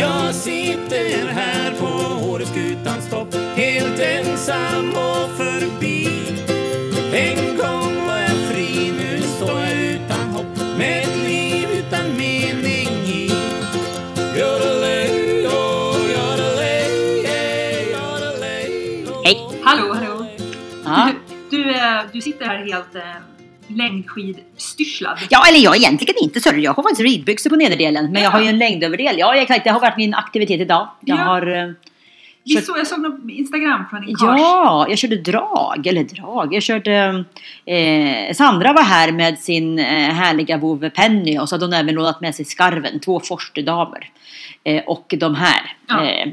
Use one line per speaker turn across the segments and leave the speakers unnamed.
Jag sitter här på Åreskutans topp Helt ensam och förbi En gång var jag fri, nu står jag utan hopp Med ett liv utan mening i Yodelay, oh, yodelay, yeah, yodelay, oh.
Hej.
Hallå, hallå.
Ja.
Du, eh, du sitter här helt eh, längdskidstyrslad.
ja, eller jag egentligen inte så Jag har faktiskt ridbyxor på nederdelen. Men jag har ju en längdöverdel. Ja, exakt. Det har varit min aktivitet idag. Jag
Ja.
har... eh,
Vi
kört-
så, jag såg någon Instagram från din karls.
Ja, jag körde drag, eller drag, jag körde... Eh, Sandra var här med sin eh, härliga vovve Penny och så hade hon även lånat med sig skarven, två forstedamer. Eh, och de här
Ja.
eh, eh,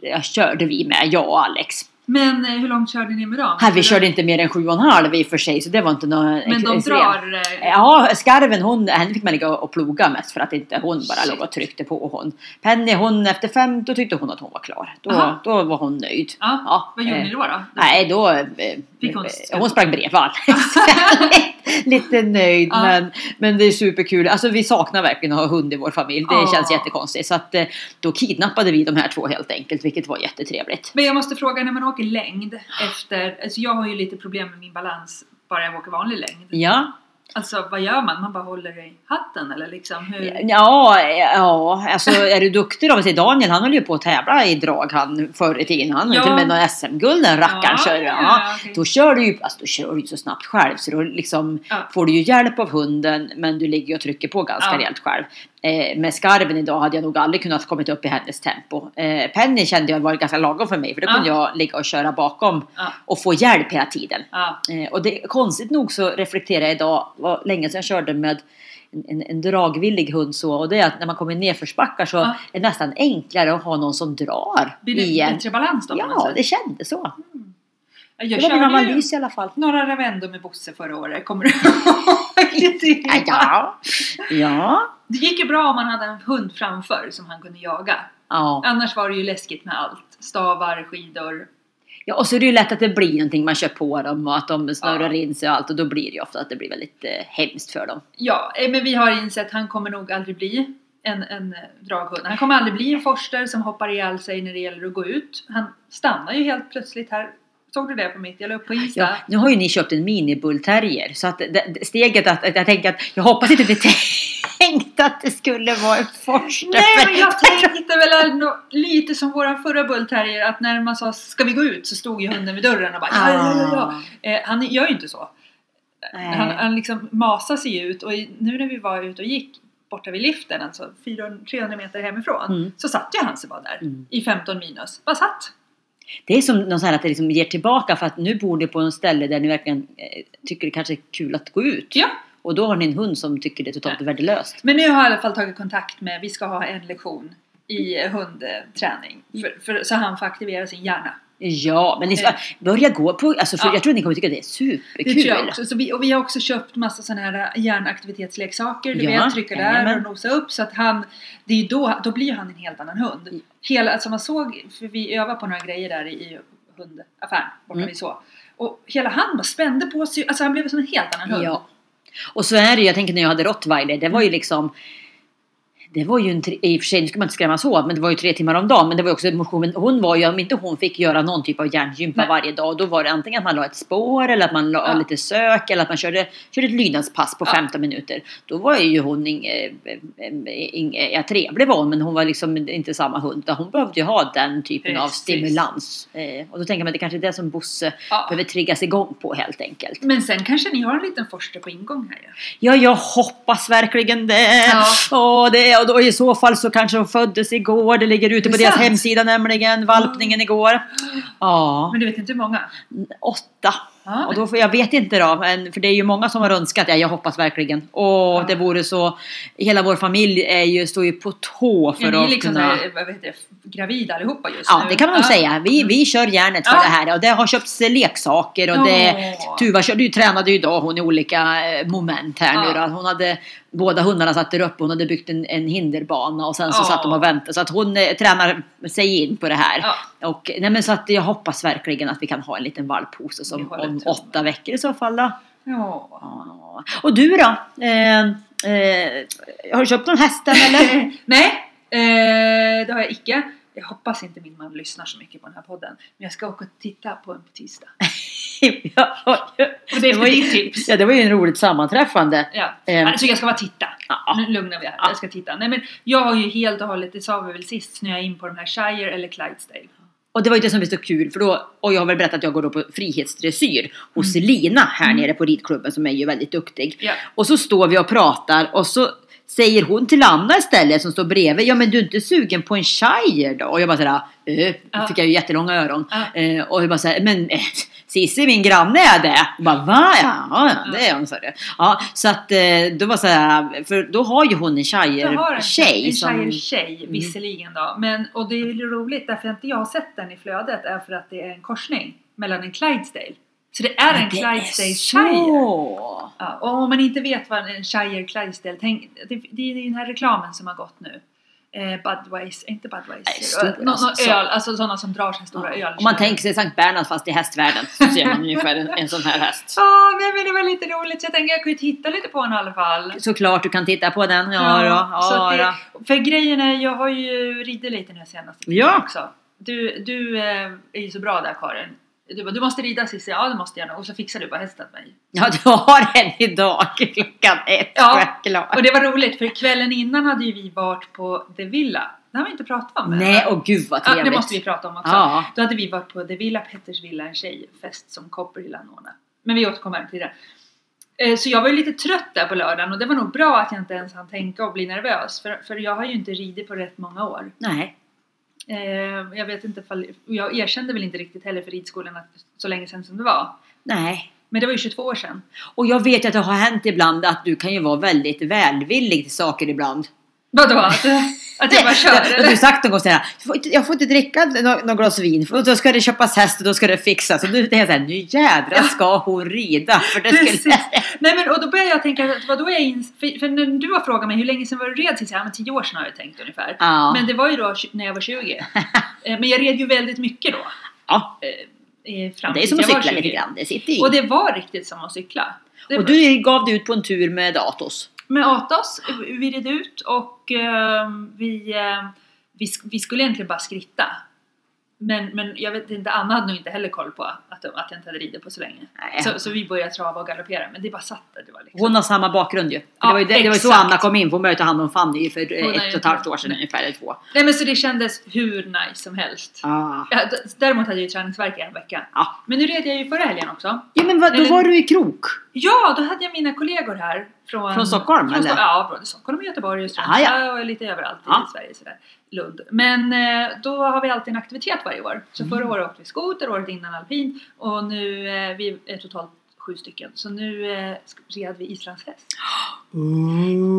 jag körde vi med, jag och Alex.
Men eh, hur långt körde ni med dem?
Här, vi körde inte mer än sju och en halv i och för sig, så det var inte något
Men de
extremt.
drar... eh,
Ja, skarven hon, henne fick man ligga och ploga mest för att inte hon bara
Shit.
låg och tryckte på hon. Penny hon, efter fem, då tyckte hon att hon var klar. Då,
Aha.
då var hon nöjd.
Ja,
Ja,
vad gjorde
eh,
ni då? då?
Nej, då... eh,
Fick hon
eh,
skratta?
hon sprang bredvid Alex. Lite nöjd,
Ja.
men, men det är superkul. Alltså, vi saknar verkligen att ha hund i vår familj. Det
Ja.
känns jättekonstigt. Så att, eh, då kidnappade vi de här två helt enkelt, vilket var jättetrevligt.
Men jag måste fråga, när man åker längd efter... Alltså jag har ju lite problem med min balans bara jag åker vanlig längd.
Ja,
Alltså vad gör man? Man bara håller i hatten eller liksom hur?
ja, ja alltså är du duktig då? Se, Daniel han höll ju på att tävla i drag han förr i tiden. Han ja.
Ja.
till och med någon SM-guld den rackaren.
Ja,
kör ju.
ja,
ja.
okej.
Då kör du ju alltså, då kör du ju så snabbt själv så då liksom
Ja.
får du ju hjälp av hunden men du ligger ju och trycker på ganska
Ja.
rejält själv. Eh, med skarven idag hade jag nog aldrig kunnat kommit upp i hennes tempo. Eh, Penny kände jag var ganska lagom för mig för då
Ja.
kunde jag ligga och köra bakom
Ja.
och få hjälp hela tiden.
Ja.
Eh, och det, konstigt nog så reflekterar jag idag, var länge sedan jag körde med en, en, en dragvillig hund så och det är att när man kommer i nedförsbackar så
Ja.
är det nästan enklare att ha någon som drar
Blir det
i en.
bättre balans då? på något
Ja,
sätt? Mm.
det kändes så.
jag
det var min
körde ju
analys i alla fall.
några Ravendo med Bosse förra året, kommer du ihåg? det?
Ja, ja. ja.
Det gick ju bra om man hade en hund framför som han kunde jaga.
ja.
Annars var det ju läskigt med allt. Stavar, skidor.
Ja, och så är det ju lätt att det blir någonting man kör på dem och att de snurrar
Ja.
in sig och allt och då blir det ju ofta att det blir väldigt eh, hemskt för dem.
Ja, eh, men vi har insett att han kommer nog aldrig bli en, en eh, draghund. Han kommer aldrig bli en forster som hoppar ihjäl sig när det gäller att gå ut. Han stannar ju helt plötsligt här. Såg du det på mitt? Jag la upp på Insta.
Ja, nu har ju ni köpt en minibullterrier så att det, det, steget att, att jag tänker att jag hoppas inte det tänkt att det skulle vara en forster.
Nej, men
för-
jag tänkte väl ändå lite som våran förra bullterrier att när man sa ska vi gå ut så stod ju hunden vid dörren och bara ja, ja, ja, ja.
Ah,
Eh, han gör ju inte så.
nej.
Han, han liksom masar sig ut och i, nu när vi var ute och gick borta vid liften, alltså 400 300 meter hemifrån,
Mm.
så satt ju han sig bara där
Mm.
i 15 minus. Bara satt.
Det är som någon sån här att det liksom ger tillbaka för att nu bor ni på en ställe där ni verkligen eh, tycker det kanske är kul att gå ut.
Ja.
Och då har ni en hund som tycker det är totalt värdelöst.
Men nu har jag i alla fall tagit kontakt med, vi ska ha en lektion i hundträning. För, för, så han får aktivera sin hjärna.
Ja, men ni ska
Eh.
börja gå på... Alltså, för
Ja.
Jag tror ni kommer tycka det är
Det
superkul.
tror jag också. Så vi, och vi har också köpt massa sådana här äh, hjärnaktivitetsleksaker. Du
Ja,
vet, trycka där
jajamän.
och nosa upp. Så att han, det är ju då, då blir han en helt annan
Mm.
hund. Hela, alltså man såg, för vi övade på några grejer där i, i hundaffären, borta
Mm.
vi så. Och hela han bara spände på sig, alltså han blev som en helt annan hund.
Ja. Och så är det ju, jag tänker när jag hade rottweiler, det
Mm.
var ju liksom det var ju en, tre- i och för sig, nu ska man inte skrämmas åt, men det var ju tre timmar om dagen. Men det var ju också motion. Men hon var ju, om inte hon fick göra någon typ av hjärngympa
Nej.
varje dag, då var det antingen att man la ett spår eller att man la
Ja.
lite sök eller att man körde, körde ett lydnadspass på
Ja.
15 minuter. Då var ju hon, ing, eh, eh, ing, eh, ja trevlig var hon, men hon var liksom inte samma hund. utan Hon behövde ju ha den typen av
Precis.
stimulans. Eh, Och då tänker man att det kanske är det som Bosse
Ja.
behöver triggas igång på helt enkelt.
Men sen kanske ni har en liten forster på ingång här ju.
Ja, jag hoppas verkligen det.
Ja.
Åh, det och, då, i så fall så kanske de föddes igår. Det ligger ute på
Det är
deras
sant.
hemsida nämligen, valpningen igår. Ja,
Men du vet inte hur många?
åtta.
Ja,
Och då, får- jag vet inte då, men, för det är ju många som har önskat. Ja, jag hoppas verkligen. Åh,
Ja.
det vore så. Hela vår familj är ju, står ju på tå
ja,
för
ni är
att
liksom
kunna...
där, vad heter det, gravida allihopa just
Ja,
nu.
det kan man nog säga. Vi, vi kör järnet för
Mm. Ja.
det här. Och det har köpts eh, leksaker och det...
Åh.
Tuva körde ju, tränade ju idag hon i olika eh, moment här nu
Ja.
då. Hon hade, båda hundarna satt där uppe, hon hade byggt en, en hinderbana och sen så
Ja.
satt de och väntade. Så att hon eh, tränar sig in på det här.
Ja.
Och, nej men så att jag hoppas verkligen att vi kan ha en liten valppose
Vi
som
håller
om
tummarna.
åtta veckor i så fall då.
Ja.
Ja. Och du då? Eh, eh, har du köpt någon häst än eller?
Nej, eh, det har jag icke. Jag hoppas inte min man lyssnar så mycket på den här podden. Men jag ska åka och titta på den på tisdag.
ja,
Och det är
var ju-
ditt tips.
ja, det var ju en roligt sammanträffande.
Ja.
Ehm.
Alltså jag ska bara titta.
Ja.
Nu lugnar vi här. Jag ska titta. Nej men jag har ju helt och hållet, det sa vi väl sist, snöat in på de här Shire eller Clydesdale.
Och det var ju det som var så kul för då, och jag har väl berättat att jag går då på frihetsdressyr
Mm.
hos Lina här nere på ridklubben som är ju väldigt duktig.
Ja.
Och så står vi och pratar och så säger hon till Anna istället som står bredvid, ja men du är inte sugen på en shire då? Och jag bara såhär, äh,
Ja.
då fick jag ju jättelånga öron.
Ja.
Eh, och jag bara såhär, men äh, Cissi min granne är det. Jag bara, va? Ja, ja, det är hon sa det. Ja, så att eh, då var såhär, för då har ju hon en
Jag har en
shire-tjej.
en
som- Mm.
Shire-tjej visserligen då. Men, och det är ju roligt därför att inte jag har sett den i flödet är för att det är en korsning mellan en Clydesdale. Så det är en
Det
Clydesdale Shire.
så!
Ja, och om man inte vet vad en Shire Clydesdale, tänk, det, det är ju den här reklamen som har gått nu. Eh, Budweiser, inte
Nej,
Budweiser,
stor,
Nå- nå-
alltså, så-
öl, alltså sådana som drar sina stora öl.
Om man tänker sig Sankt Bernhard fast i hästvärlden så ser man ungefär en, en sån här häst.
Ja, nej, men det var lite roligt så jag tänker jag kan ju titta lite på den i alla fall.
Såklart du kan titta på den. Ja, ja,
så att
ja,
det,
ja.
För grejen är, jag har ju ridit lite nu senast
Ja.
också. Du, du eh, är ju så bra där Karin. Du bara, du måste rida Cissi. Ja, det måste jag nog. Och så fixar du bara hästen åt mig.
ja, du har den idag klockan ett.
Ja.
Självklart.
Och det var roligt för kvällen innan hade ju vi varit på The Villa. Det har vi inte pratat om än,
Nej,
va?
och gud vad
ja,
trevligt.
det måste vi prata om också.
Ja.
Då hade vi varit på The Villa Petters Villa, en tjejfest som Copperhill anordnade. Men vi återkommer till det. Eh, Så jag var ju lite trött där på lördagen och det var nog bra att jag inte ens hann tänka och bli nervös. För, för jag har ju inte ridit på rätt många år.
Nej.
Eh, jag vet inte ifall, och jag erkände väl inte riktigt heller för ridskolan att så länge sedan som det var.
Nej.
Men det var ju 22 år sedan.
Och jag vet ju att det har hänt ibland att du kan ju vara väldigt välvillig till saker ibland.
Vadå? Att, att jag bara kör?
Du har
eller?
sagt någon gång såhär, "Jag får inte- jag får inte dricka nå- någon glas vin för då ska det köpas häst och då ska det fixas. Och nu är jag såhär, nu jädrar ska hon rida. För det skulle...
Precis. Nej men och då började jag tänka, att vadå är jag in... för, för när du har frågat mig hur länge sedan var du red sist? Ja men 10 år sedan har jag tänkt ungefär.
Ja.
Men det var ju då tj- när jag var 20. Eh, men jag red ju väldigt mycket då.
ja.
eh, eh,
Ja,
Fram
Det är
tills
som att
jag var
cykla
20.
lite grann, det sitter i.
Och
Och,
det var riktigt som att cykla. Det var-
du gav dig ut på en tur med Atos.
med Atos, vi red ut och eh, vi, eh, vi, sk- vi skulle egentligen bara skritta. Men, men jag vet inte, Anna hade nog inte heller koll på att, att jag inte hade ridit på så länge.
Nej.
Så, så vi började trava och galoppera, men det bara satt där. Det var liksom.
Hon har samma bakgrund ju.
Ja,
det var ju, det, det var ju så
exakt.
Anna kom in, för hon började ta hand om Fanny för eh,
Hon har ju
ett och ett
inte-
halvt år sedan ungefär, eller två.
Nej men så det kändes hur nice som helst.
Ah.
Ja, d- däremot hade jag ju träningsvärk i en vecka.
Ja.
Men nu red jag ju förra helgen också.
ja, men vad, då
Eller-
var du i krok.
Ja, då hade jag mina kollegor här. Från,
Från Stockholm,
Sto-
eller?
Ja, från Stockholm och Göteborg och Strömstad
Ah,
och lite överallt
Ja.
i Sverige. Sådär. Lund. Men eh, då har vi alltid en aktivitet varje år. Så
Mm.
förra året åkte vi skoter, året innan alpin och nu, eh, vi är totalt sju stycken. Så nu eh, sk- red vi islandshäst.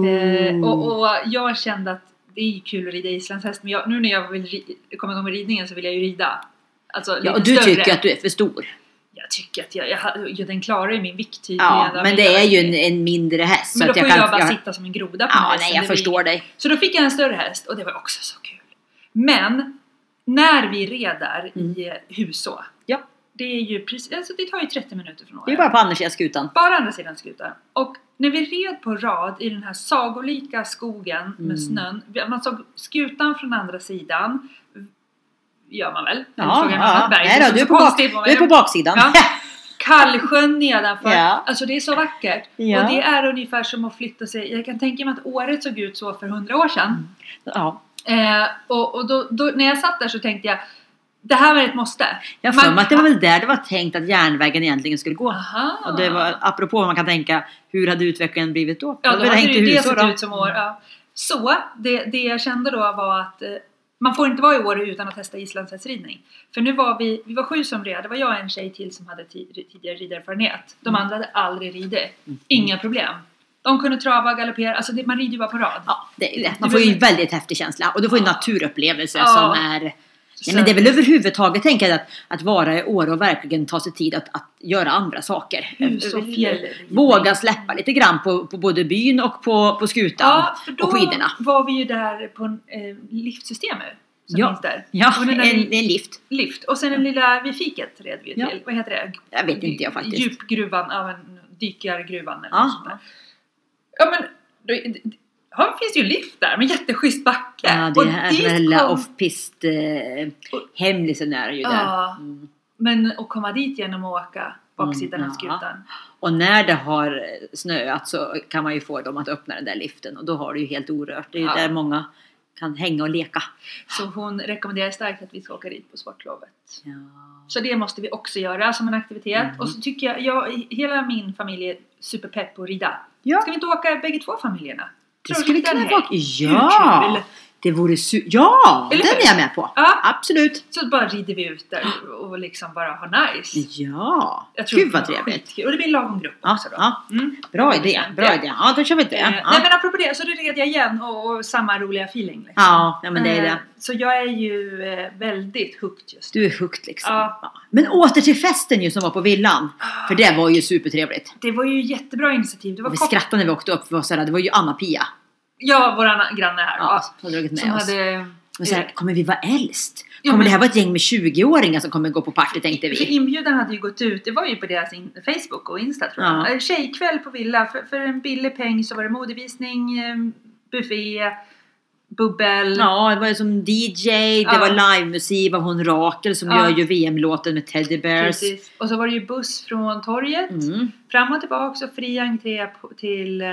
Eh, och, och jag kände att det är ju kul att rida islandshäst men jag, nu när jag vill ri- komma igång med ridningen så vill jag ju rida. Alltså,
ja,
lite
och du
större.
tycker att du är för stor.
Jag tycker att jag, jag, jag, den klarar ju min vikt tydligen.
Ja, men det
jag-
är ju en, en mindre häst.
men då får
jag
jag, bara
jag-
sitta som en groda på
Ja,
hästen,
nej,
det
jag
blir-
förstår dig.
Så då fick jag en större häst och det var också så kul. Men när vi red där i Huså.
Mm. Ja.
Det är ju precis, alltså det tar ju 30 minuter från
Det är
Åre.
ju bara på andra skutan.
Bara andra sidan skutan. Och när vi red på rad i den här sagolika skogen
Mm.
med snön. Man såg skutan från andra sidan. Gör man väl? Eller
Ja,
såg jag något
ja.
annat berg?
Nej
Det
då,
såg
du, är
så
på bak,
konstigt ut.
du är på baksidan.
Ja. Kallsjön nedanför.
Ja.
Alltså det är så vackert.
Ja.
Och det är ungefär som att flytta sig. Jag kan tänka mig att året såg ut så för hundra år sedan.
Ja. Mm.
Eh, och och då, då, när jag satt där så tänkte jag det här var ett måste.
Jag har för mig att det var väl där det var tänkt att järnvägen egentligen skulle gå.
Aha.
Och det var, apropå vad man kan tänka, hur hade utvecklingen blivit då?
Ah. Ja, då
hade
hade det
hängt i
ju det
husor
sett
då.
ut som år. Ja. Så, det, det jag kände då var att eh, man får inte vara i år utan att testa islandshästridning. För nu var vi, vi var sju som red, det var jag och en tjej till som hade ti- tidigare ridererfarenhet. De
Mm.
andra hade aldrig ridit. Inga problem. De kunde trava, galoppera, alltså det, man rider ju bara på rad.
Ja, det är lätt.
Det
Man får ju
blir-
en väldigt häftig känsla och du får ju en naturupplevelse
Ja.
som är... Nej, men det är väl överhuvudtaget tänker jag att, att vara i år och verkligen ta sig tid att, att göra andra saker.
Hus och fjäll.
Våga släppa lite grann på, på både byn och på, på skutan
Ja, för då
och skidorna.
var vi ju där på en eh, liftsystem nu. Som
Ja.
finns där.
Ja,
och
en,
den där
en lift.
lift. Och sen den lilla vid fiket red vi ju
Ja.
till. Vad heter det?
Jag vet inte jag faktiskt.
Djupgruvan, ja men dykargruvan eller
Ja.
något sånt där. Ja men, då- ja, det finns ju lift där med jätteschysst backe.
Ja, det är den här lilla
kom-
off-pist eh, hemlisen är ju där.
Ja.
Mm.
Men att komma dit genom att åka baksidan
Mm,
av
ja.
skutan.
Och när det har snöat så kan man ju få dem att öppna den där liften och då har du ju helt orört. Det är ju
Ja.
där många kan hänga och leka.
Så hon rekommenderar starkt att vi ska åka dit på sportlovet.
Ja.
Så det måste vi också göra som en aktivitet.
Mhm.
Och så tycker jag, jag, hela min familj är superpepp på att rida.
Ja.
Ska vi inte åka bägge två familjerna?
Det
Tror du
skulle
den
kunna
här-
vara... Ja!
Hur kul?
Det vore su... Ja!
Eller
den
hur?
är jag med på!
Ja,
Absolut!
så bara rider vi ut där och liksom bara har nice.
Ja!
Jag tror
Gud vad
det blir
trevligt!
skitkul. Och det blir en lagom grupp
Ja,
också då.
ja,
Mm.
bra idé, bra idé. Ja, då kör vi det.
Eh,
Ja,
Nej men apropå det, så då red jag igen och, och samma roliga feeling. Liksom.
ja ja, men det är
Eh,
det.
Så jag är ju eh, väldigt hooked just nu.
Du är hooked liksom.
Ja.
Ja. Men åter till festen ju som var på villan. För det var ju supertrevligt.
Det var ju jättebra initiativ. Det var
Och vi
kop-
skrattade när vi åkte upp. Vi var så här, det var ju Anna-Pia
Ja, våra granne här.
ja,
Ja,
som hade dragit med
som
oss.
hade...
Och så här, kommer vi vara äldst?
Eh. Ja,
Kommer
men-
det här vara ett gäng med 20-åringar som kommer gå på party tänkte
För
vi.
inbjudan hade ju gått ut, det var ju på deras in- Facebook och Insta tror jag.
Ja.
Eh, Tjejkväll på Villa, för, för en billig peng så var det modevisning, eh, buffé, bubbel.
Ja, det var ju som DJ, det
Ja.
var livemusik av hon Rakel som
Ja.
gör ju VM-låten med Teddy Bears.
precis. Och så var det ju buss från torget,
Mm,
fram och tillbaka och fri entré på, till eh,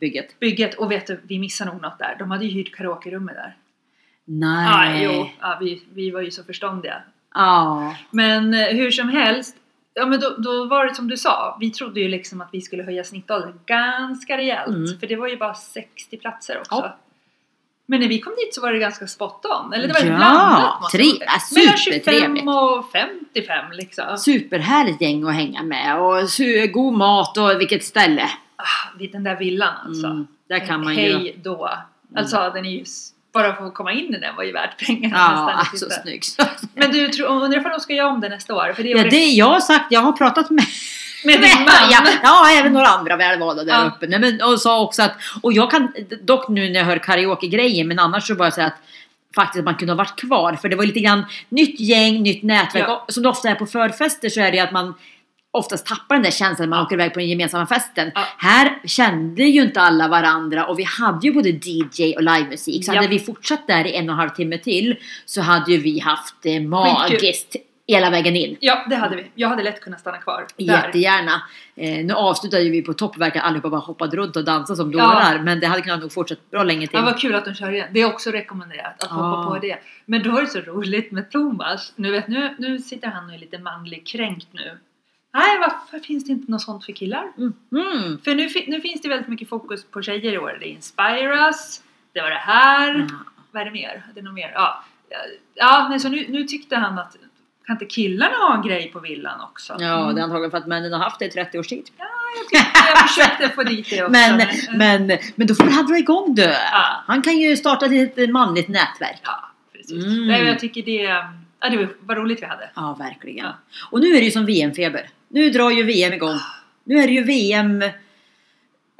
bygget.
bygget. Och vet du, vi missade nog något där. De hade ju hyrt karaokerummet där. Ja,
Nej.
jo, ja, vi, vi var ju så förståndiga.
Ja.
Men eh, hur som helst, ja, men då, då var det som du sa. Vi trodde ju liksom att vi skulle höja snittåldern ganska rejält.
Mm.
För det var ju bara 60 platser också.
Ja.
Men när vi kom dit så var det ganska spot on. Eller det var
Ja,
ja, blandat. måste man
tre-
säga.
ja,
Mellan
supertrevligt.
25 och 55 liksom.
Superhärligt gäng att hänga med och su- god mat och vilket ställe.
Ah, vid den där villan alltså.
Mm, där kan man ju... Mm.
Hej då. Alltså den är ju, s- bara för att komma in i den var ju värt pengarna
Ja,
nästan. att
alltså
titta.
snygg.
Men du, tror- undrar ifall de ska göra om det nästa år? För det är
Ja, det är jag har sagt, jag har pratat med
med din man.
Ja, ja, även några andra välvalda där
Ja.
uppe. Nej, men, och sa också att, och jag kan, dock nu när jag hör karaoke-grejen, men annars så bara säga att faktiskt att man kunde ha varit kvar. För det var lite grann nytt gäng, nytt nätverk.
Ja.
Och Som det ofta är på förfester så är det att man oftast tappar den där känslan när man åker iväg på den gemensamma festen.
Ja.
Här kände ju inte alla varandra och vi hade ju både DJ och livemusik. Så
Ja.
hade vi fortsatt där i en och en halv timme till så hade ju vi haft det magiskt hela vägen in.
Ja, det hade vi. Jag hade lätt kunnat stanna kvar där.
Jättegärna. Eh, nu avslutade ju vi på topp, verkar allihopa bara hoppade runt och dansade som dårar. Men det hade kunnat nog fortsätta bra länge till.
Ja, vad kul att de kör igen. Det är också rekommenderat att
Ja.
hoppa på det. Men då är det så roligt med Thomas. Nu, vet, nu, nu sitter han och är lite manlig kränkt nu. Nej, varför finns det inte något sånt för killar?
Mhm.
För nu, fi- nu finns det väldigt mycket fokus på tjejer i år. Det är Inspire Us, det var det här.
Mm.
Vad är det mer? Det är nog mer. Ja, ja nej, så nu, nu tyckte han att kan inte killarna ha en grej på villan också?
Ja,
Mm.
det är antagligen för att männen har haft det i 30 års tid.
Jag försökte få dit det också.
men, men, men då får han dra igång det.
Ja.
Han kan ju starta ett litet manligt nätverk.
Ja, precis.
Mm.
Nej, men jag tycker det, ja, det var- vad roligt vi hade.
Ja, verkligen.
Ja.
Och nu är det ju som VM-feber. Nu drar ju VM igång. Nu är det ju VM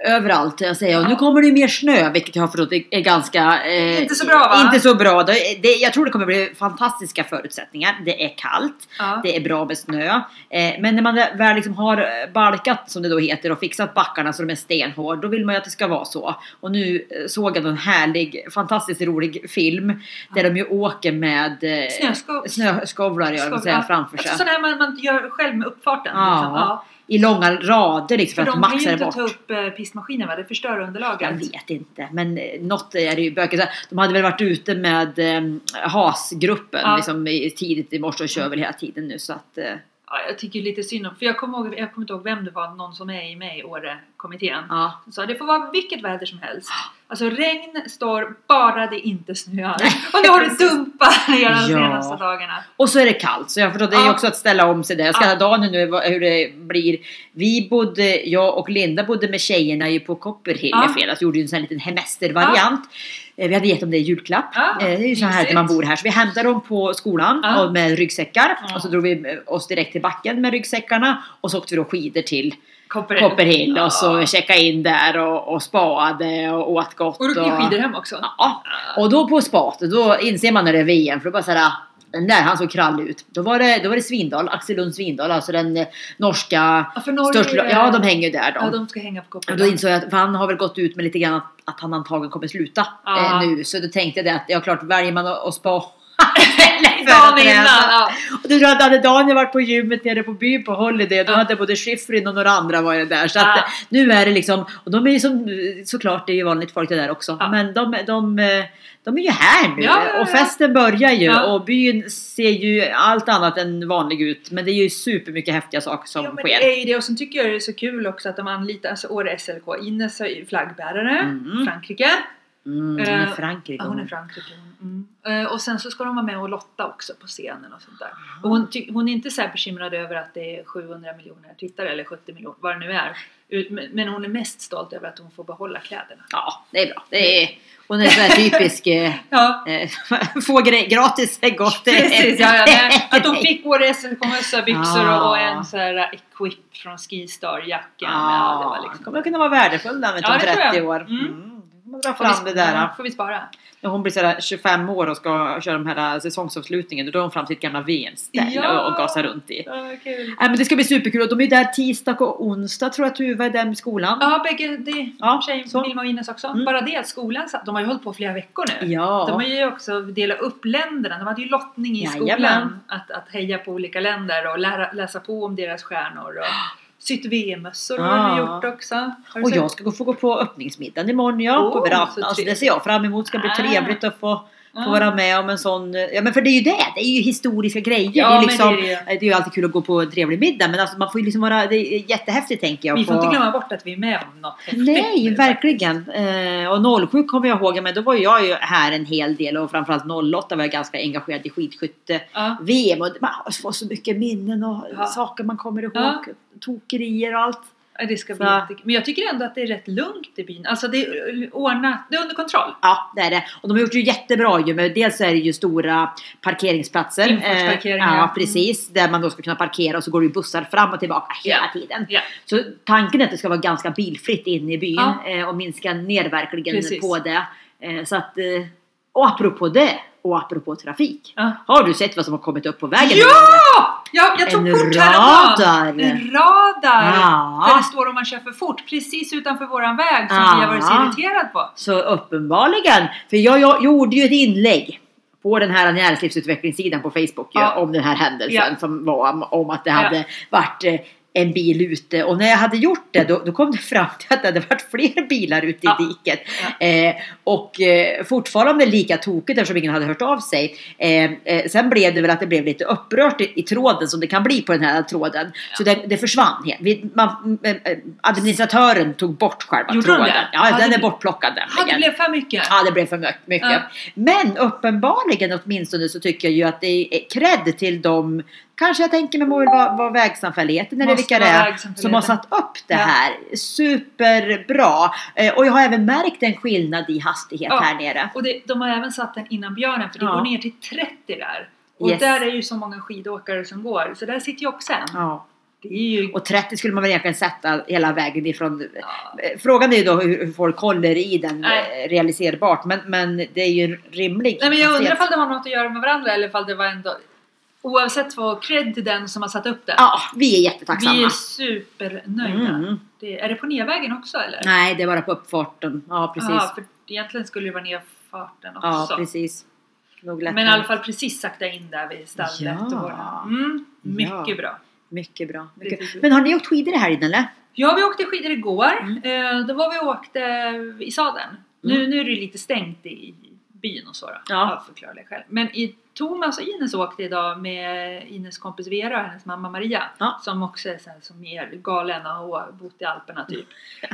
överallt, jag säger. Och nu
Ja.
kommer det ju mer snö, vilket jag har förstått är är ganska... eh,
Inte så bra, va?
Inte så bra. Det, det, jag tror det kommer bli fantastiska förutsättningar. Det är kallt,
Ja.
det är bra med snö. Eh, men när man väl liksom har eh, balkat, som det då heter, och fixat backarna så de är stenhård, då vill man ju att det ska vara så. Och nu eh, såg jag en härlig, fantastiskt rolig film där de ju åker med... eh,
Snöskov.
snöskovlar jag vill säga framför sig.
Sådana här Alltså man, man gör själv med uppfarten.
Ja.
Liksom. Ja.
I långa rader liksom,
För
för, att
de kan ju
maxa det
inte
bort.
ta upp eh, pistmaskinen va? Det förstör underlaget.
Jag vet inte, men eh, något är det ju bökigt. De hade väl varit ute med eh, HAS-gruppen
Ja.
liksom, i- tidigt i morse och kör väl hela tiden nu så att... Eh,
Ja, jag tycker lite synd om, för jag kommer, ihåg, jag kommer inte ihåg vem det var, någon som är i mig i Åre-kommittén.
ja.
Så det får vara vilket väder som helst. Alltså regn, storm, bara det inte snöar. Och nu har det dumpat ner de
Ja.
senaste dagarna.
Och så är det kallt, så jag förstår det är ju
Ja.
också att ställa om sig där. Jag ska
Ja.
ha dagen nu vad- hur det blir. Vi bodde, jag och Linda bodde med tjejerna ju på Copperhill
Ja.
i fredags. Gjorde ju en sån här liten hemestervariant. Eh, Vi hade gett dem det i julklapp.
Ja,
Eh, Det är ju så här när
mysigt.
man bor här. Så vi hämtade dem på skolan
Ja.
och med ryggsäckar.
Ja.
Och så drog vi eh, oss direkt till backen med ryggsäckarna. Och så åkte vi då skidor till
Copperhill.
Copperhill.
Ja.
Och så checkade in där och, och spaade och åt gott.
Och då blir skidor hem också.
Ja. Och då på spat, då inser man när det är VM. För då bara såhär, den där, han såg krallig ut. Då var det, då var det Svindal, Axel Lund Svindal, alltså den eh, norska
Ja, för Norge,
största... Ja, de hänger ju där då.
Ja, de ska hänga på
Och
kopparna.
då insåg jag att för han har väl gått ut med lite grann att, att han antagligen kommer sluta
Ja.
eh, nu. Så då tänkte jag det att, ja klart, väljer man att, att spa
Dagen innan! Ja.
Och du tror att hade Daniel varit på gymmet nere på byn på Holiday, då
Ja.
hade både Schifrin och några andra varit där. Så att
Ja.
eh, nu är det liksom, och de är ju som, såklart det är ju vanligt folk det där också,
Ja.
men de, de, eh, de är ju här nu
Ja, ja, ja.
och festen börjar ju
Ja.
och byn ser ju allt annat än vanlig ut. Men det är ju supermycket häftiga saker som
Jo, men
sker.
det är ju det och sen tycker jag det är så kul också att de anlitar, alltså Åre SLK, Ines är ju flaggbärare,
Mm.
Frankrike.
Mm, hon är
eh,
Frankrike.
Ja, hon är Frankrike. hon. Mm. Eh, Och sen så ska de vara med och lotta också på scenen och sånt där. Och hon, ty- hon är inte så här bekymrad över att det är 700 miljoner tittare eller 70 miljoner, vad det nu är. Ut- men- Men hon är mest stolt över att hon får behålla kläderna.
Ja, det är bra. Det är, hon är så här typisk, eh,
Ja,
eh, få gre- gratis är gott.
precis. Ja, ja, nej. Att hon fick Åre SLK-mössa, byxor och-
Ah.
och en så här eh, Equip från Skistar-jackan. Ja, det var
Ja,
liksom...
kommer kunna vara värdefull när
Ja,
om
det tror jag.
30 år.
Mm.
Mm. Kommer dra
Får vi
fram det där.
spara?
ja.
Får vi spara?
När hon blir sådär 25 år och ska köra de här äh, säsongsavslutningen, då drar hon fram sitt gamla VM-ställ
Ja.
och, och gasar runt i.
Ja, kul.
Nej men det ska bli superkul och de är ju där tisdag och onsdag tror jag Tuva är där med skolan.
Ja, bägge, det,
Ja,
tjej,
så.
Vilma och Ines också.
Mm.
Bara det att skolan, satt- de har ju hållit på flera veckor nu.
Ja.
De har ju också delat upp länderna. De hade ju lottning i
Jajamän.
skolan. Att, att heja på olika länder och lära, läsa på om deras stjärnor. Och sytt VM-mössor har
Ja.
de gjort också. Har du
Och
sett?
jag ska gå- få gå på öppningsmiddagen imorgon ja,
Åh,
på
så
verandan. Alltså, det
trevligt.
ser jag fram emot. ska bli
Ah.
trevligt att få,
Ja.
få vara med om en sån... eh, Ja men för det är ju det, det är ju historiska grejer.
Ja,
det, är
men
liksom,
det är det.
eh, det är ju alltid kul att gå på en trevlig middag men alltså, man får ju liksom vara... Det är jättehäftigt tänker jag.
Vi får
på-
inte glömma bort att vi är med om något häftigt
Nej,
nu,
verkligen. Eh, och 07 kommer jag ihåg, men då var jag ju här en hel del och framförallt 08 var jag ganska engagerad i skidskytte-VM
Ja.
och det- man får så mycket minnen och
Ja.
saker man kommer ihåg,
Ja.
tokerier och allt.
Ja, Det ska bli
Så.
jättekul. Men jag tycker ändå att det är rätt lugnt i byn. Alltså det är ordnat, det är under kontroll.
Ja, det är det. Och de har gjort det jättebra ju. Men dels är det ju stora parkeringsplatser.
Infartsparkeringar.
Eh, ja, precis. Där man då ska kunna parkera och så går det ju bussar fram och tillbaka hela
Ja.
tiden.
Ja.
Så tanken är att det ska vara ganska bilfritt inne i byn
Ja.
eh, och minska ner verkligen
Precis.
på det. Eh, så att, eh, och apropå det och apropå trafik.
Ja.
Har du sett vad som har kommit upp på vägen?
Ja! Jag, jag tog
En
kort
radar!
häromdagen. En radar!
Ja.
Där det står om man kör för fort precis utanför våran väg som vi har varit så
Ja.
irriterad på.
Så uppenbarligen, för jag, jag gjorde ju ett inlägg på den här näringslivsutvecklingssidan på Facebook ju,
Ja.
om den här händelsen
Ja.
som var om, om att det
Ja.
hade varit eh, en bil ute och när jag hade gjort det då, då kom det fram till att det hade varit fler bilar ute i
Ja.
diket. Eh, och eh, fortfarande lika tokigt eftersom ingen hade hört av sig. Eh, eh, sen blev det väl att det blev lite upprört i, i tråden som det kan bli på den här tråden. Så det, det försvann. helt. Vi, man, eh, eh, administratören tog bort själva
Gjorde de
tråden.
det?
Ja,
Ja,
den
det
är
blir-
bortplockad
Ja, det
nämligen.
blev för mycket.
Ja, det blev för mycket. mycket.
Ja.
Men uppenbarligen åtminstone så tycker jag ju att det är cred till dem, kanske jag tänker mig vad, vad, vad vägsamfälligheten eller
Måste
vilka det
vara
är,
vägsamfälligheten.
som har satt upp det
Ja.
här. Superbra! Eh, och jag har även märkt en skillnad i hastighet
Ja.
här nere.
Och det, de har även satt den innan björnen för det
Ja.
går ner till 30 där. Och
Yes.
där är ju så många skidåkare som går. Så där sitter ju också en.
Ja.
Det är ju...
Och 30 skulle man väl egentligen sätta hela vägen ifrån.
Ja.
Eh, Frågan är ju då hur hur folk håller i den
Nej.
eh, realiserbart, men, men det är ju en rimlig
Nej men jag undrar
hastighet.
ifall det har något att göra med varandra eller ifall det var ändå... Oavsett vad cred till den som har satt upp det.
Ja, vi är jättetacksamma.
vi är supernöjda.
Mm.
Det, är det på nedvägen också eller?
Nej, det är bara på uppfarten. Ja, precis.
Aha, för egentligen skulle det vara nedfarten
Ja,
också.
precis. Nog lätt
Men i alla fall precis sakta in där vid stallet.
Ja.
Och, mm, mycket
Ja.
bra.
Mycket bra.
Det
Mycket.
tycker jag.
Men har ni åkt skidor här inne eller?
Ja, vi åkte skidor igår.
Mm.
Eh, då var vi och åkte i sadeln. Nu, nu är det lite stängt i byn och så då.
Ja.
Av förklarliga skäl. Men i Thomas och Ines åkte idag med Ines kompis Vera och hennes mamma Maria.
Ja.
Som också är så här, som er galna och har bott i Alperna typ.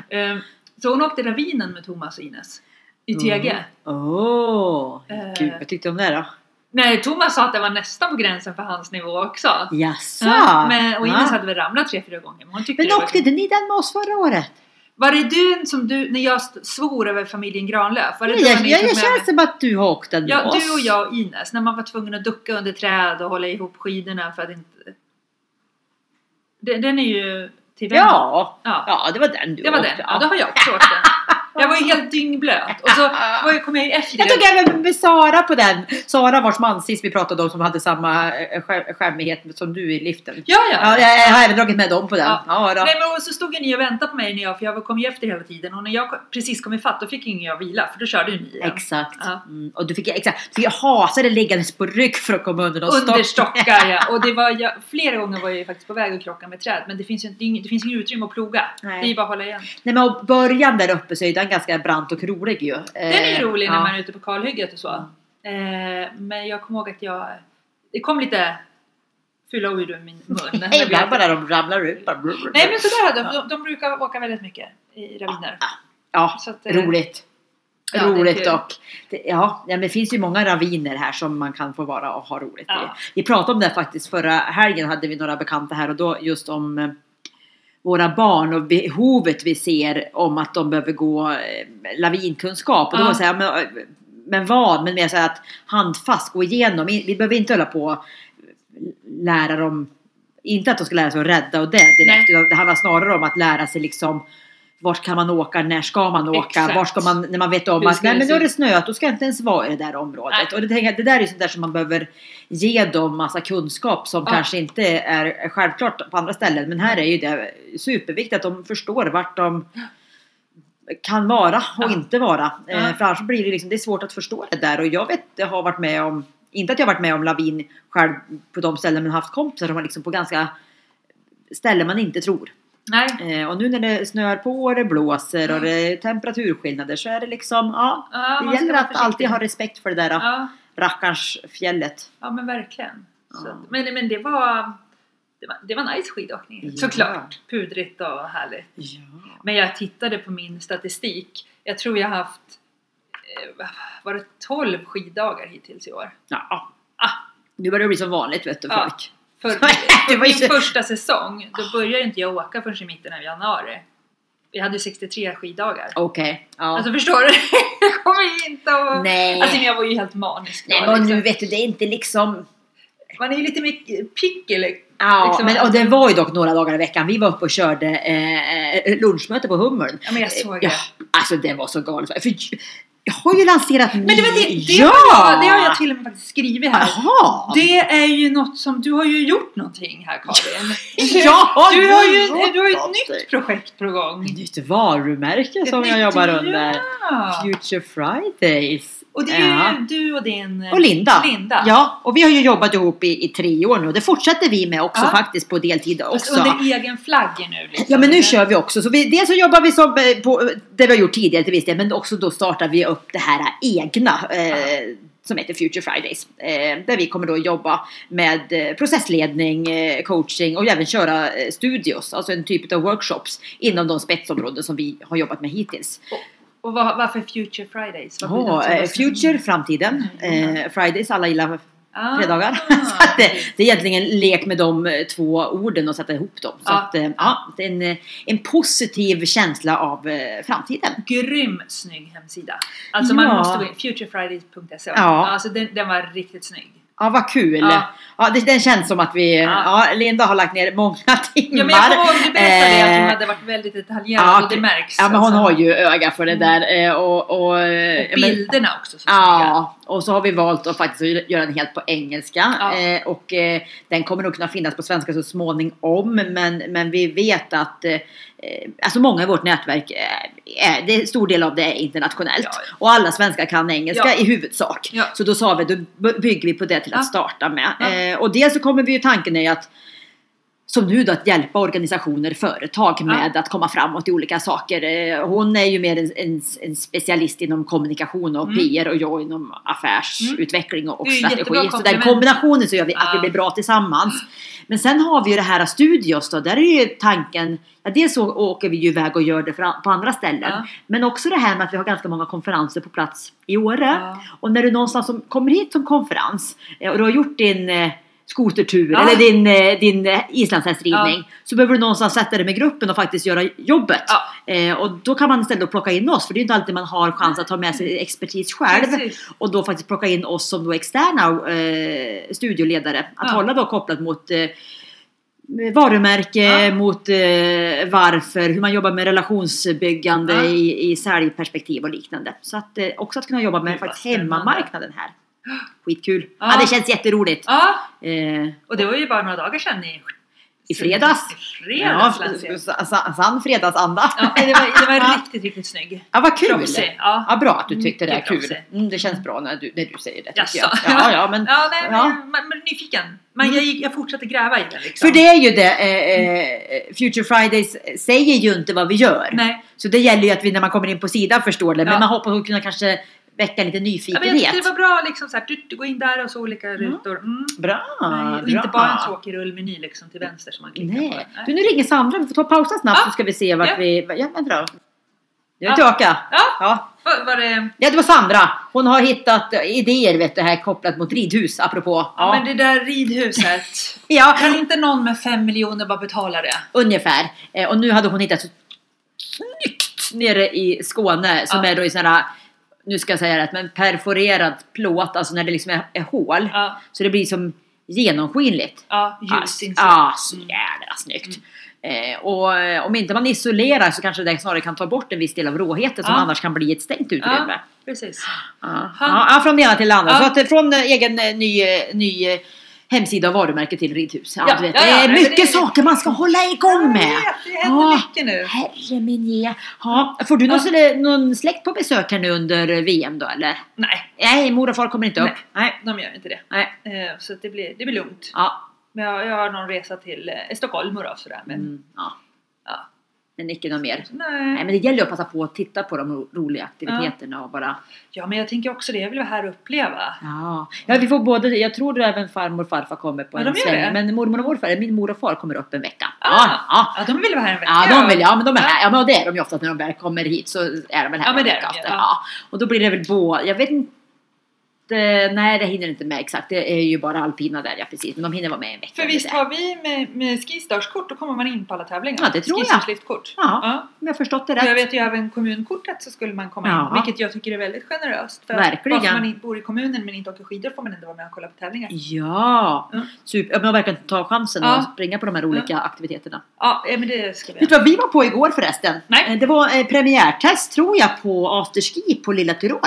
eh, så hon åkte ravinen med Thomas och Ines. I Tege.
Mm. Åh,
Eh.
gud vad tyckte du om det då?
Nej, Thomas sa att det var nästan på gränsen för hans nivå också.
Jaså?
Ja, men, och Ines
Ja.
hade väl ramlat tre, fyra gånger. Men, hon tyckte
men
det var
åkte
kul.
inte ni den med oss förra året?
Var det du som du, när jag st- svor över familjen Granlöf? Var det
Jag,
du
jag,
när ni
jag,
tog med
känns
mig?
som att du har åkt den med
Ja,
oss.
du och jag och Ines, när man var tvungen att ducka under träd och hålla ihop skidorna för att inte... Den, den är ju till vem?
Ja,
ja.
ja det var den du
Det var
åkte.
den. Ja, då har jag också åkt den. Jag var ju helt dyngblöt. Och så var jag, kom jag ju efter
Jag
det.
tog även med Sara på den. Sara vars man sist vi pratade om som hade samma eh, skär- skärmighet som du i liften.
Ja,
Ja,
ja.
jag har även dragit med dem på den.
Ja.
Ja, då.
Nej, men och så stod ju ni och väntade på mig när jag, för jag kom ju efter hela tiden. Och när jag kom- precis kom ifatt då fick ju ingen jag vila, för då körde ju ni igen.
Exakt.
Ja.
Mm. Och du fick, exakt. Du fick hasa dig liggandes på rygg för att komma under någon
Under
stock.
stockar ja. Och det var, jag, flera gånger var jag ju faktiskt på väg att krocka med träd. Men det finns ju inte- det är ingen- det finns inget utrymme att ploga.
Nej.
Det är ju bara att hålla igen.
Nej, men och början där uppe så är den ganska brant och rolig ju.
Den är ju rolig när man är ute på kalhygget och så. Eh, men jag kommer ihåg att jag... Det kom lite fylla ord ur min mun.
Nej, ibland bara när de ramlar ut. Bara...
Nej men sådär hade de.
Ja.
De, de brukar åka väldigt mycket i raviner.
Ja,
Så att, eh,
roligt.
ja, det är
roligt
kul.
och det, ja, ja, men det finns ju många raviner här som man kan få vara och ha roligt
Ja.
i. Vi pratade om det faktiskt förra helgen hade vi några bekanta här och då just om eh, våra barn och behovet vi ser om att de behöver gå eh, lavinkunskap. Och då
Ja.
var det så här, men, eh, men vad? Men mer så här att handfast gå igenom. I- Vi behöver inte hålla på och lära dem, inte att de ska lära sig att rädda och det direkt.
Nej.
Utan det handlar snarare om att lära sig liksom vart kan man åka, när ska man åka,
Exakt.
var ska man, när man vet om
Hur
att
ska
nej
det
men
se
då är det
ut?"
snöat, då ska jag inte ens vara i det där området.
Nej.
Och det, tänker jag, det där är sånt där som man behöver ge dem massa kunskap som
Ja.
kanske inte är självklart på andra ställen. Men här är ju det superviktigt att de förstår vart de kan vara och
Ja.
inte vara.
Ja.
Eh, För annars blir det liksom, det är svårt att förstå det där. Och jag vet, jag har varit med om, inte att jag har varit med om lavin själv på de ställen men haft kompisar som har liksom på ganska ställen man inte tror.
Nej.
Eh, Och nu när det snöar på och det blåser och det är temperaturskillnader så är det liksom, ja.
Ja, man
Det
ska
gäller
vara
att alltid
försiktig.
ha respekt för det där
Ja,
rackarns fjället.
ja men verkligen. Så,
Ja.
att- men, men det var... Det var, det var nice skidåkning.
Ja.
Såklart. Pudrigt och härligt.
Ja.
Men jag tittade på min statistik. Jag tror jag haft... eh, Var det 12 skiddagar hittills i år?
ja.
Ah,
Nu börjar det bli som vanligt vet du
Ja.
folk.
För,
Det
för
var ju
min
så-
första säsong, då började ju inte jag åka förrän i mitten av januari. Vi hade ju 63 skiddagar.
Okej. Ja.
Alltså förstår du? jag kommer ju inte att...
Nej.
Alltså men jag var ju helt manisk då,
Nej men
liksom.
nu vet du, det är inte liksom...
Man är ju lite mer pickig.
Ja,
Liksom
men,
att-
och det var ju dock några dagar i veckan. Vi var uppe och körde eh, lunchmöte på Hummern.
Ja, men jag såg
ja,
det.
Alltså det var så galet. För jag har ju lanserat
Men det var det, det,
ja!
har jag, det har jag till och med faktiskt skrivit här.
Jaha!
Det är ju något som, du har ju gjort någonting här Karin.
Ja,
du,
jag
har ju,
gjort
du har ju ett
någonting.
nytt projekt på gång.
Ett nytt varumärke som
Ett
jag
nytt-
jobbar under.
Ja.
Future Fridays.
Och det är
Ja.
ju du och din... eh,
Och Linda.
Linda.
Ja, och vi har ju jobbat ihop i, i tre år nu och det fortsätter vi med också
Ja.
faktiskt på deltid
Fast
också.
under egen flagg nu liksom.
Ja men nu kör vi också. Så vi, dels så jobbar vi som eh, på, det vi har gjort tidigare till viss del men också då startar vi upp det här egna eh, som heter Future Fridays. Eh, där vi kommer då jobba med eh, processledning, eh, coaching och även köra eh, studios, alltså en typ av workshops inom de spetsområden som vi har jobbat med hittills.
Och vad, varför Future Fridays? Vad blir det
Ja,
alltså?
eh, future, framtiden,
Mm.
eh, Fridays, alla gillar
Ah.
fredagar. så att det, det är egentligen lek med de eh, två orden och sätta ihop dem. Så
Ja.
att, eh, ja, det är en, eh, en positiv känsla av eh, framtiden.
Grym snygg hemsida. Alltså
Ja.
man måste gå in, futurefridays.se.
Ja.
Alltså den, den var riktigt snygg.
Ja, vad kul! Ja.
Ja.
det, den känns som att vi, ja.
Ja.
Linda har lagt ner många timmar.
Ja men jag kommer ihåg, du berättade att
Eh,
hon hade varit väldigt detaljerad
ja,
och det märks.
Ja, men hon
alltså. Mm.
har ju öga för det där eh, och... och, eh,
Och
men-
bilderna också. Så snygga.
Ja, och så har vi valt att faktiskt göra den helt på engelska.
Ja.
Eh, och eh, den kommer nog kunna finnas på svenska så småningom. Men, men vi vet att eh, eh, alltså många i vårt nätverk, eh, är, det är stor del av det är internationellt.
Ja, ja.
Och alla svenskar kan engelska
Ja.
i huvudsak.
Ja.
Så då sa vi, då by- bygger vi på det till att
Ja.
starta med.
Ja.
Eh, och dels så kommer vi ju tanken är ju att som nu då att hjälpa organisationer, företag med att komma framåt i olika saker. Eh, Hon är ju mer en, en, en specialist inom kommunikation och
Mm.
PR och jag inom affärsutveckling och, och
Det är ju
strategi.
jättebra
Så den
komplement.
kombinationen så gör vi att vi
Ja. Mm.
blir bra tillsammans. Men sen har vi ju det här studios då, där är ju tanken, ja dels så åker vi ju iväg och gör det för, an- på andra ställen.
Ja.
Men också det här med att vi har ganska många konferenser på plats i Åre.
Ja.
Och när du någonstans som kommer hit som konferens eh, och du har gjort din eh, skotertur
Ja.
eller din, eh, din eh, islandshästridning så behöver du någonstans sätta dig med gruppen och faktiskt göra jobbet.
Ja.
Eh, och då kan man istället då plocka in oss för det är ju inte alltid man har chans att ta med sig expertis själv
Precis.
och då faktiskt plocka in oss som då externa eh, studioledare att
Ja.
hålla då kopplat mot eh, varumärke
Ja.
mot eh, varför, hur man jobbar med relationsbyggande
Ja.
i, i säljperspektiv och liknande. Så att eh, också att kunna jobba med
Gud, vad
faktiskt
spännande.
hemmamarknaden här. Skitkul! Ja.
Ja.
det känns jätteroligt!
Ja,
Eh,
och det var ju bara några dagar sedan i...
I fredags.
I fredags
ja,
Lasse.
sa- sa- sann fredagsanda!
Ja, det var, det var riktigt, riktigt snygg.
Ja, vad kul!
Proffsig. Ja.
Ja, bra att du tyckte det är
Mycket
kul.
proffsig.
Mm, det känns bra när du, när du säger det.
Jaså?
tycker jag. Ja, ja, men,
Ja, nej,
Ja.
Men, men, men nyfiken. Men
Mm.
jag, gick, jag fortsatte gräva i den liksom.
för det är ju det, eh, eh, Future Fridays säger ju inte vad vi gör.
Nej.
Så det gäller ju att vi när man kommer in på sidan förstår det. Men
Ja.
man hoppas att kunna kanske väcka lite
Ja, men jag
nyfikenhet.
tyckte det var bra liksom så här, du, du går in där och så olika rutor. Mm.
Bra!
nej, och
bra.
inte bara en tråkig rullmeny liksom till vänster som man klickar
Nej.
på.
Du, nu ringer Sandra. Vi får ta och pausa snabbt
Ja.
så ska vi se vart
Ja.
vi... Ja, men bra. Jag är
Ja.
tillbaka.
Ja,
Ja.
var, var det...
ja, det var Sandra. Hon har hittat eh, idéer vet du, här kopplat mot ridhus, apropå.
Ja.
Ja,
Men det där ridhuset.
ja
Kan inte någon med fem miljoner bara betala det?
ungefär. Eh, Och nu hade hon hittat så snyggt nere i Skåne som
Ja.
är då i sådana här, nu ska jag säga rätt, men perforerad plåt, alltså när det liksom är, är hål.
Ja,
Så det blir som genomskinligt.
ja
Ass-
ljus inslag.
Ja, så jävla
Mm.
snyggt. Eh, och eh, om inte man isolerar så kanske det snarare kan ta bort en viss del av råheten som
Ja.
annars kan bli ett stängt utrymme.
Precis.
Ja.
Ha.
Ja, från det ena till det andra.
Ja.
Så att eh, från eh, egen eh, ny, eh, ny eh, hemsida och varumärke till ridhus. Ja,
Ja,
du vet,
ja, ja,
det är
nej, men
mycket
det-
saker man ska hålla igång med. Ah.
Jag vet, det händer
Ja.
mycket nu.
Herre min ge. Ja, får du någon, någon släkt på besök här nu under VM då eller?
Nej,
Nej, mor och far kommer inte upp. Nej.
de gör inte det.
Nej.
Eh, Så att det blir, det blir lugnt.
Ja.
Men jag, jag har någon resa till eh, Stockholm och då, sådär. Men
Mm, ja.
Ja.
Men icke något mer. Nej
nej.
men det gäller ju att passa på att titta på de ro- roliga aktiviteterna och bara
Ja, men jag tänker också det. Jag vill vara här och uppleva.
ja. ja vi får både, jag tror du även farmor och farfar kommer på
Ja,
en
de gör
sväng
det.
men mormor och morfar, min mor och far kommer upp en vecka.
Ah.
Ja, ja.
Ja, de vill vara här en vecka.
Ja, de vill, ja men de är här, ja men det är de ju ofta när de väl kommer hit så är de väl här
Ja, men
en
det
vecka
är de ju,
efter.
ja.
Ja. Och då blir det väl båda, jag vet inte Nej det hinner inte med exakt, det är ju bara alpina där ja precis men de hinner vara med en vecka.
För
eller
visst
det.
har vi med, med Skistars-kort, då kommer man in på alla tävlingar.
Ja, det tror jag.
Skistarsliftkort.
Ja.
ja.
Om jag har förstått det
Och jag
rätt.
vet ju även kommunkortet så skulle man komma
Ja.
in, vilket jag tycker är väldigt generöst. För
Verkligen.
Bara för att man in- bor i kommunen men inte åker skidor får man ändå vara med och kolla på tävlingar.
Ja!
Mm.
Super, ja, men verkligen ta chansen
Ja.
och springa på de här olika aktiviteterna.
Ja, eh, men det ska vi
Vet
göra.
du vad vi var på igår förresten?
Nej.
Eh, Det var eh, premiärtest tror jag på afterski på Lilla Tyrol.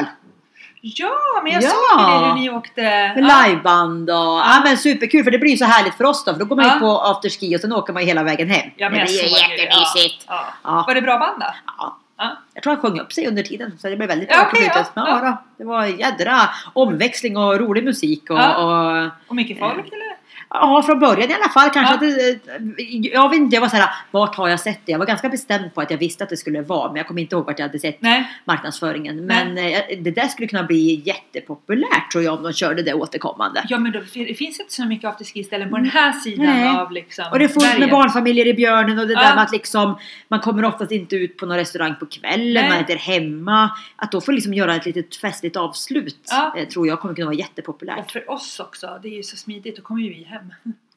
Ja, men jag
Ja.
såg ju det hur ni åkte.
Med liveband och... Ja men superkul för det blir ju så härligt för oss då för då går man
Ja.
ju på afterski och sen åker man ju hela vägen hem.
Ja, men
det
jag
blir ju
såg det, ja.
jättemysigt.
Ja.
Ja.
Var det bra band då?
Ja.
Ja.
Jag tror han sjöng upp sig under tiden så det blev väldigt
Ja,
bra på
okej,
slutet.
ja.
Ja, då. Det var jädra omväxling och rolig musik och...
Ja.
och
Och mycket folk
Eh.
eller?
Ja, från början i alla fall
Ja.
kanske. Att, eh, jag vet inte, jag var såhär, vart har jag sett det? Jag var ganska bestämd på att jag visste att det skulle vara, men jag kommer inte ihåg vart jag hade sett
Nej.
marknadsföringen. Men eh, det där skulle kunna bli jättepopulärt tror jag om de körde det återkommande.
Ja men då, det finns inte så mycket afterski-ställen på den här sidan
Nej.
av liksom
Och det får med
berget.
barnfamiljer i björnen och det
Ja.
där med att liksom man kommer oftast inte ut på någon restaurang på kvällen,
Nej.
man äter hemma. Att då få liksom göra ett litet festligt avslut
Ja.
eh, tror jag kommer kunna vara jättepopulärt.
Och för oss också, det är ju så smidigt, då kommer ju vi hem.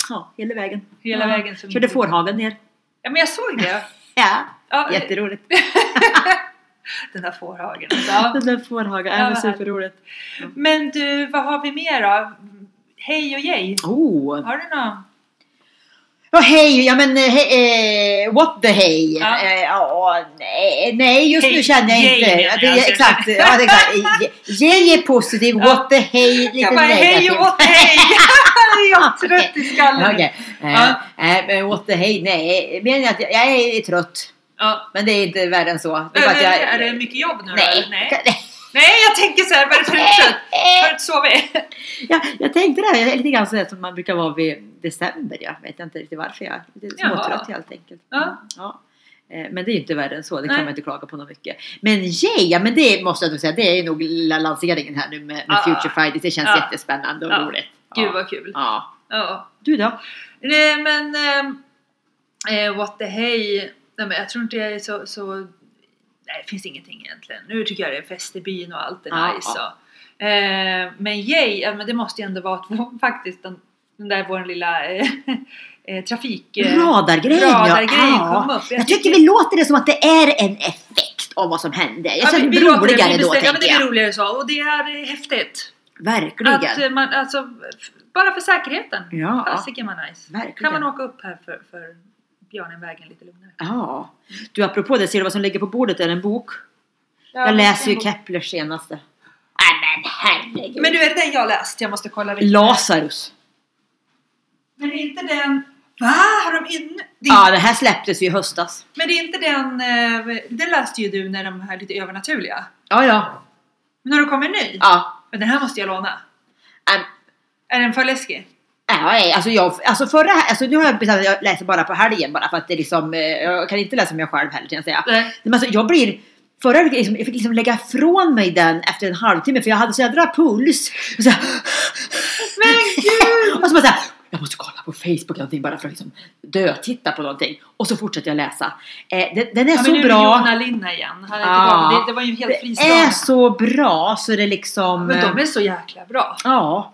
Ja, hela vägen.
Hela
ja.
vägen som
Körde fårhagen ner.
Ja men jag såg det.
Ja,
Ja,
jätteroligt.
den där fårhagen. alltså. Ja.
Den där fårhagen,
Ja,
ja, men
vad härligt.
superroligt.
Men du, vad har vi mer då? Hej och jej.
Oh.
Har du någon?
Ja, hej, ja men eh, hej, eh, what the hej?
Ja.
Eh, ja, nej, nej, just
Hej,
nu känner jag
yay
inte.
menar
Ja, det,
jag.
är exakt, ja, det är exakt. Eh, Yay är positiv,
Ja.
what the hej lite
Jag bara hej och
negativt.
åt hej! jag är trött i skallen.
Okej, eh,
Ja.
eh, men what the hej, nej, menar jag att jag, jag är trött.
Ja.
Men det är inte värre än så. Det
Men,
är bara att jag,
är det mycket jobb nu då?
nej.
eller? Nej. Nej, jag tänker så här, vad är det för trött? Har du inte sovit?
Ja, jag tänkte det, här, jag är lite grann sådär som man brukar vara vid december. Jag vet inte riktigt varför jag är lite
Jaha.
småtrött helt enkelt.
Ja.
Mm, ja. Eh, Men det är ju inte värre än så, det kan
Nej.
man inte klaga på något mycket. Men yay, ja men det måste jag nog säga, det är nog lilla lanseringen här nu med, med
Ja.
Future Fridays. Det känns
Ja.
jättespännande och
Ja.
roligt. Ja.
Gud vad kul.
Ja.
Ja.
Du då?
Nej men, ehm, eh, what the hey. Nej men jag tror inte jag är så, så... Nej det finns ingenting egentligen. Nu tycker jag det är fest i byn och allt är
Ja,
nice. Och, eh, men yay, ja, men det måste ju ändå vara att vår- faktiskt den, den där vår lilla eh, eh, trafik... eh,
Radargrejen
radargrejen
ja.
kom upp.
Jag tycker vi låter det som att det är en effekt av vad som hände. Jag känner mig
vi- vi låter det
roligare
bli
då
bestämt. Ja
tänker
men det blir
jag.
roligare så och det är eh, häftigt.
Verkligen.
Att eh, man, alltså, f- bara för säkerheten.
Ja.
Fasiken vad nice.
Verkligen.
Kan man åka upp här för, för Björnenvägen lite lugnare.
Ja. Du, apropå det, ser du vad som ligger på bordet? Är en bok?
Ja,
Jag läser ju
men-
Keplers senaste. Nej men herregud.
Men du, är det den jag läst? Jag måste kolla vilken.
Lazarus.
Men det är inte den... Va? Har de in... det är...
Ja, det här släpptes ju i höstas.
Men det är inte den... eh, Den läste ju du när de här lite övernaturliga.
Ja, ja.
Men har det kommit en ny?
Ja.
Men den här måste jag låna.
Äm,
Är den för läskig?
Ja, nej, alltså, jag, alltså förra, alltså nu har jag bestämt att jag läser bara på helgen bara för att det är liksom, eh, jag kan inte läsa mig själv heller kan jag säga.
Nej.
Men alltså, jag blir, förra veckan liksom, jag fick liksom lägga ifrån mig den efter en halvtimme för jag hade så jädra puls. Och så,
Men gud!
och så bara så här, jag måste kolla på Facebook någonting bara för att liksom dö-titta på någonting. Och så fortsätter jag läsa. Eh, den, den är så
Ja, men nu är det
bra.
Jonna Linna igen. Han är
Ja.
tillbaka. Det, det var ju en helt
Det
fristad.
är så bra så det är liksom...
Men de
eh,
är så jäkla bra.
Ja.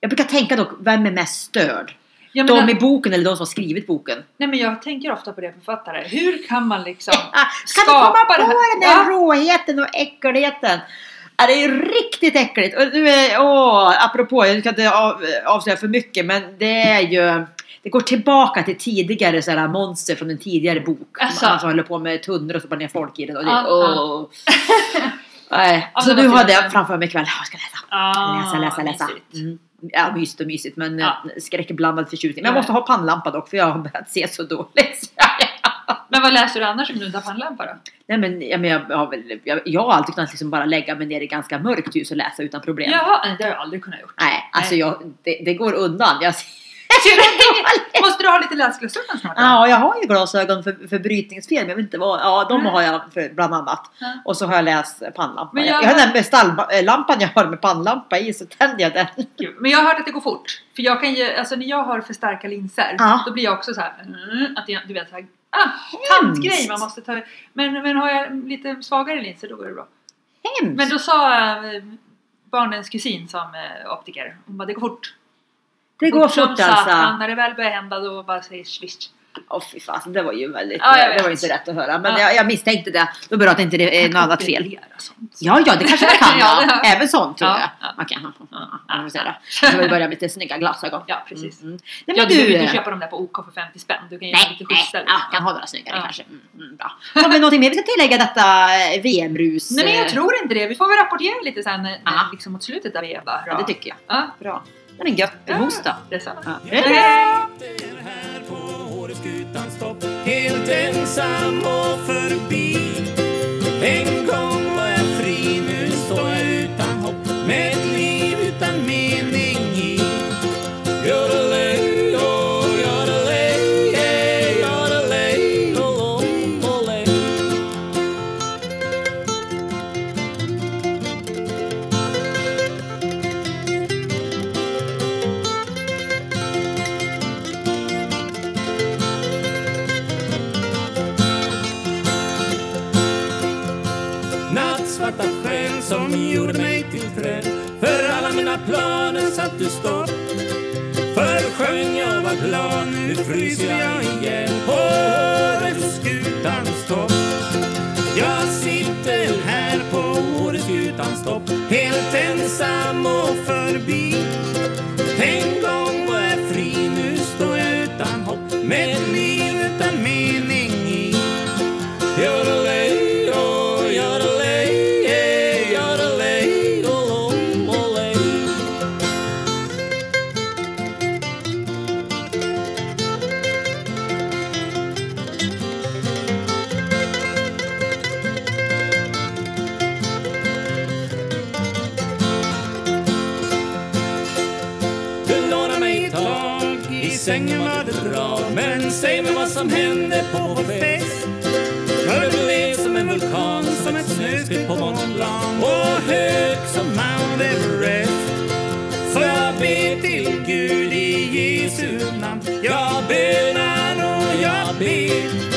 Jag brukar tänka dock, vem är mest störd?
Jag
De
menar-
i boken eller de som har skrivit boken?
Nej men jag tänker ofta på det författare. Hur kan man liksom...
Ah, kan du
Skapa
komma på
det här.
den där
Ja.
råheten och äckligheten? Ja, det är ju riktigt äckligt. Och nu är, åh, apropå, jag ska inte av, avslöja för mycket men det är ju det går tillbaka till tidigare så här, monster från en tidigare bok.
Asså.
Man som håller på med tunnor och stoppar ner folk i den. Och det,
Ja, ja.
åh. Nej,
Ja, men
så
det var
nu har
fint.
det framför mig ikväll. Jag ska läsa.
Ah,
Läsa, läsa, läsa.
mysigt.
Mm. Ja, mysigt och mysigt men
Ja.
eh, skräckblandad förtjusning. Men jag
Ja.
måste ha pannlampa dock för jag har börjat se så dåligt.
Men vad läser du annars om du inte har pannlampa då?
Nej men, jag, men jag, har väl, jag, jag har alltid kunnat liksom bara lägga mig ner i ganska mörkt ljus och läsa utan problem.
Jaha, nej, det har jag aldrig kunnat göra.
Nej, alltså jag, det, det går undan. Jag,
Måste du ha lite läsglasögon snart? då?
ja, jag har ju glasögon för, för brytningsfel men jag vet inte vad. Ja, de har jag för, bland annat.
Ja.
Och så har jag läst pannlampa.
Men
jag, jag,
jag-
har den med stalllampan jag har med pannlampa i så tänder jag den.
Gud, Men jag har hört att det går fort. För jag kan ju, alltså när jag har för starka linser,
Ja.
då blir jag också så här, mm, att jag, du vet såhär, ah, tantgrej man måste ta. Men, men har jag lite svagare linser då går det bra.
Hemskt!
Men då sa eh, barnens kusin som eh, optiker, hon bara det går fort.
det går fort
som satan.
alltså.
När det väl börjar hända då bara säger swish.
Åh fy fasen, det var ju väldigt,
Ja, jag
det var ju
vet.
inte rätt att höra. Men
Ja.
jag, jag misstänkte det. Då beror det att inte det är Eh, något annat fel. Ja, ja, det kanske man kan.
Ja,
ja,
det har jag.
Även sånt tror
Ja,
jag.
ja.
Okej, ja, ja, ja, vi får se då. Så vi börjar med lite snygga glasögon.
Ja, precis.
Mm, mm. Nej, men
Ja, du
du,
behöver
eh,
inte köpa dem där på OK för 50 spänn. Du kan ju ha
nej,
lite
nej,
schysstare.
ja, kan ha några snyggare
Ja.
kanske. Mm, mm, bra. Har vi någonting mer vi ska tillägga i detta eh, VM-rus?
Nej men jag
eh,
tror inte det. Vi får väl rapportera lite sen när-
Ja.
när, liksom mot slutet av VM. Bra.
Ja, det tycker jag.
Ja,
Bra. Nej men gött,
Ja.
mos då.
det är så.
Ja.
sitter här på Årets utan stopp Helt ensam och förbi En gång var jag fri, nu står jag utan hopp Med ett liv utan mening i Yodelay, oh, yodelay, yeah, yodelay, oh, oh, olay. Nattsvarta sken som gjorde mig till träd För alla mina planer satt du stopp För sjöng jag var glad, nu fryser jag igen På årets skutans topp Jag sitter här på årets skutans topp Helt ensam och förbi En gång var jag fri, nu står jag utan hopp Med ett liv utan mening i Yodelay, oh, yodelay, yeah, yodelay, oh, oh, olay. Du lånar mig ett tag, i sängen var det bra Men säg mig vad som hände på vår fest För du blev som en vulkan, som ett snöskred på Mont Blanc Och hög som Mount Everest Så jag ber till Gud i Jesu namn Jag bönar och jag ber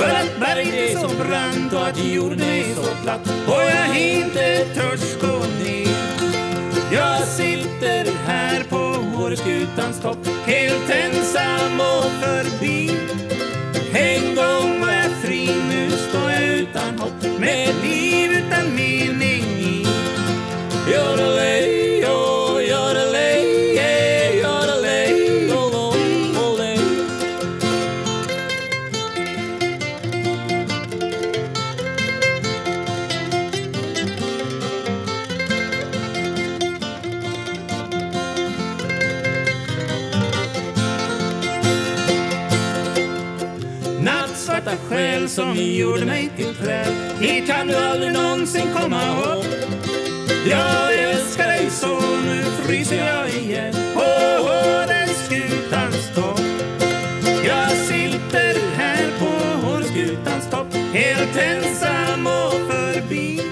för att berget är så brant och att jorden är så platt och jag inte törs gå ner jag sitter här på Åreskutans topp Helt ensam och förbi En gång var jag fri, nu står jag utan hopp Med ett liv utan mening i Yodelay, oh, privata skäl som gjorde mig till träl. Hit kan du aldrig någonsin komma upp. Jag älskar dig så, nu fryser jag igen på Åreskutans topp. Jag sitter här på Åreskutans topp, helt ensam och förbi. oh, oh,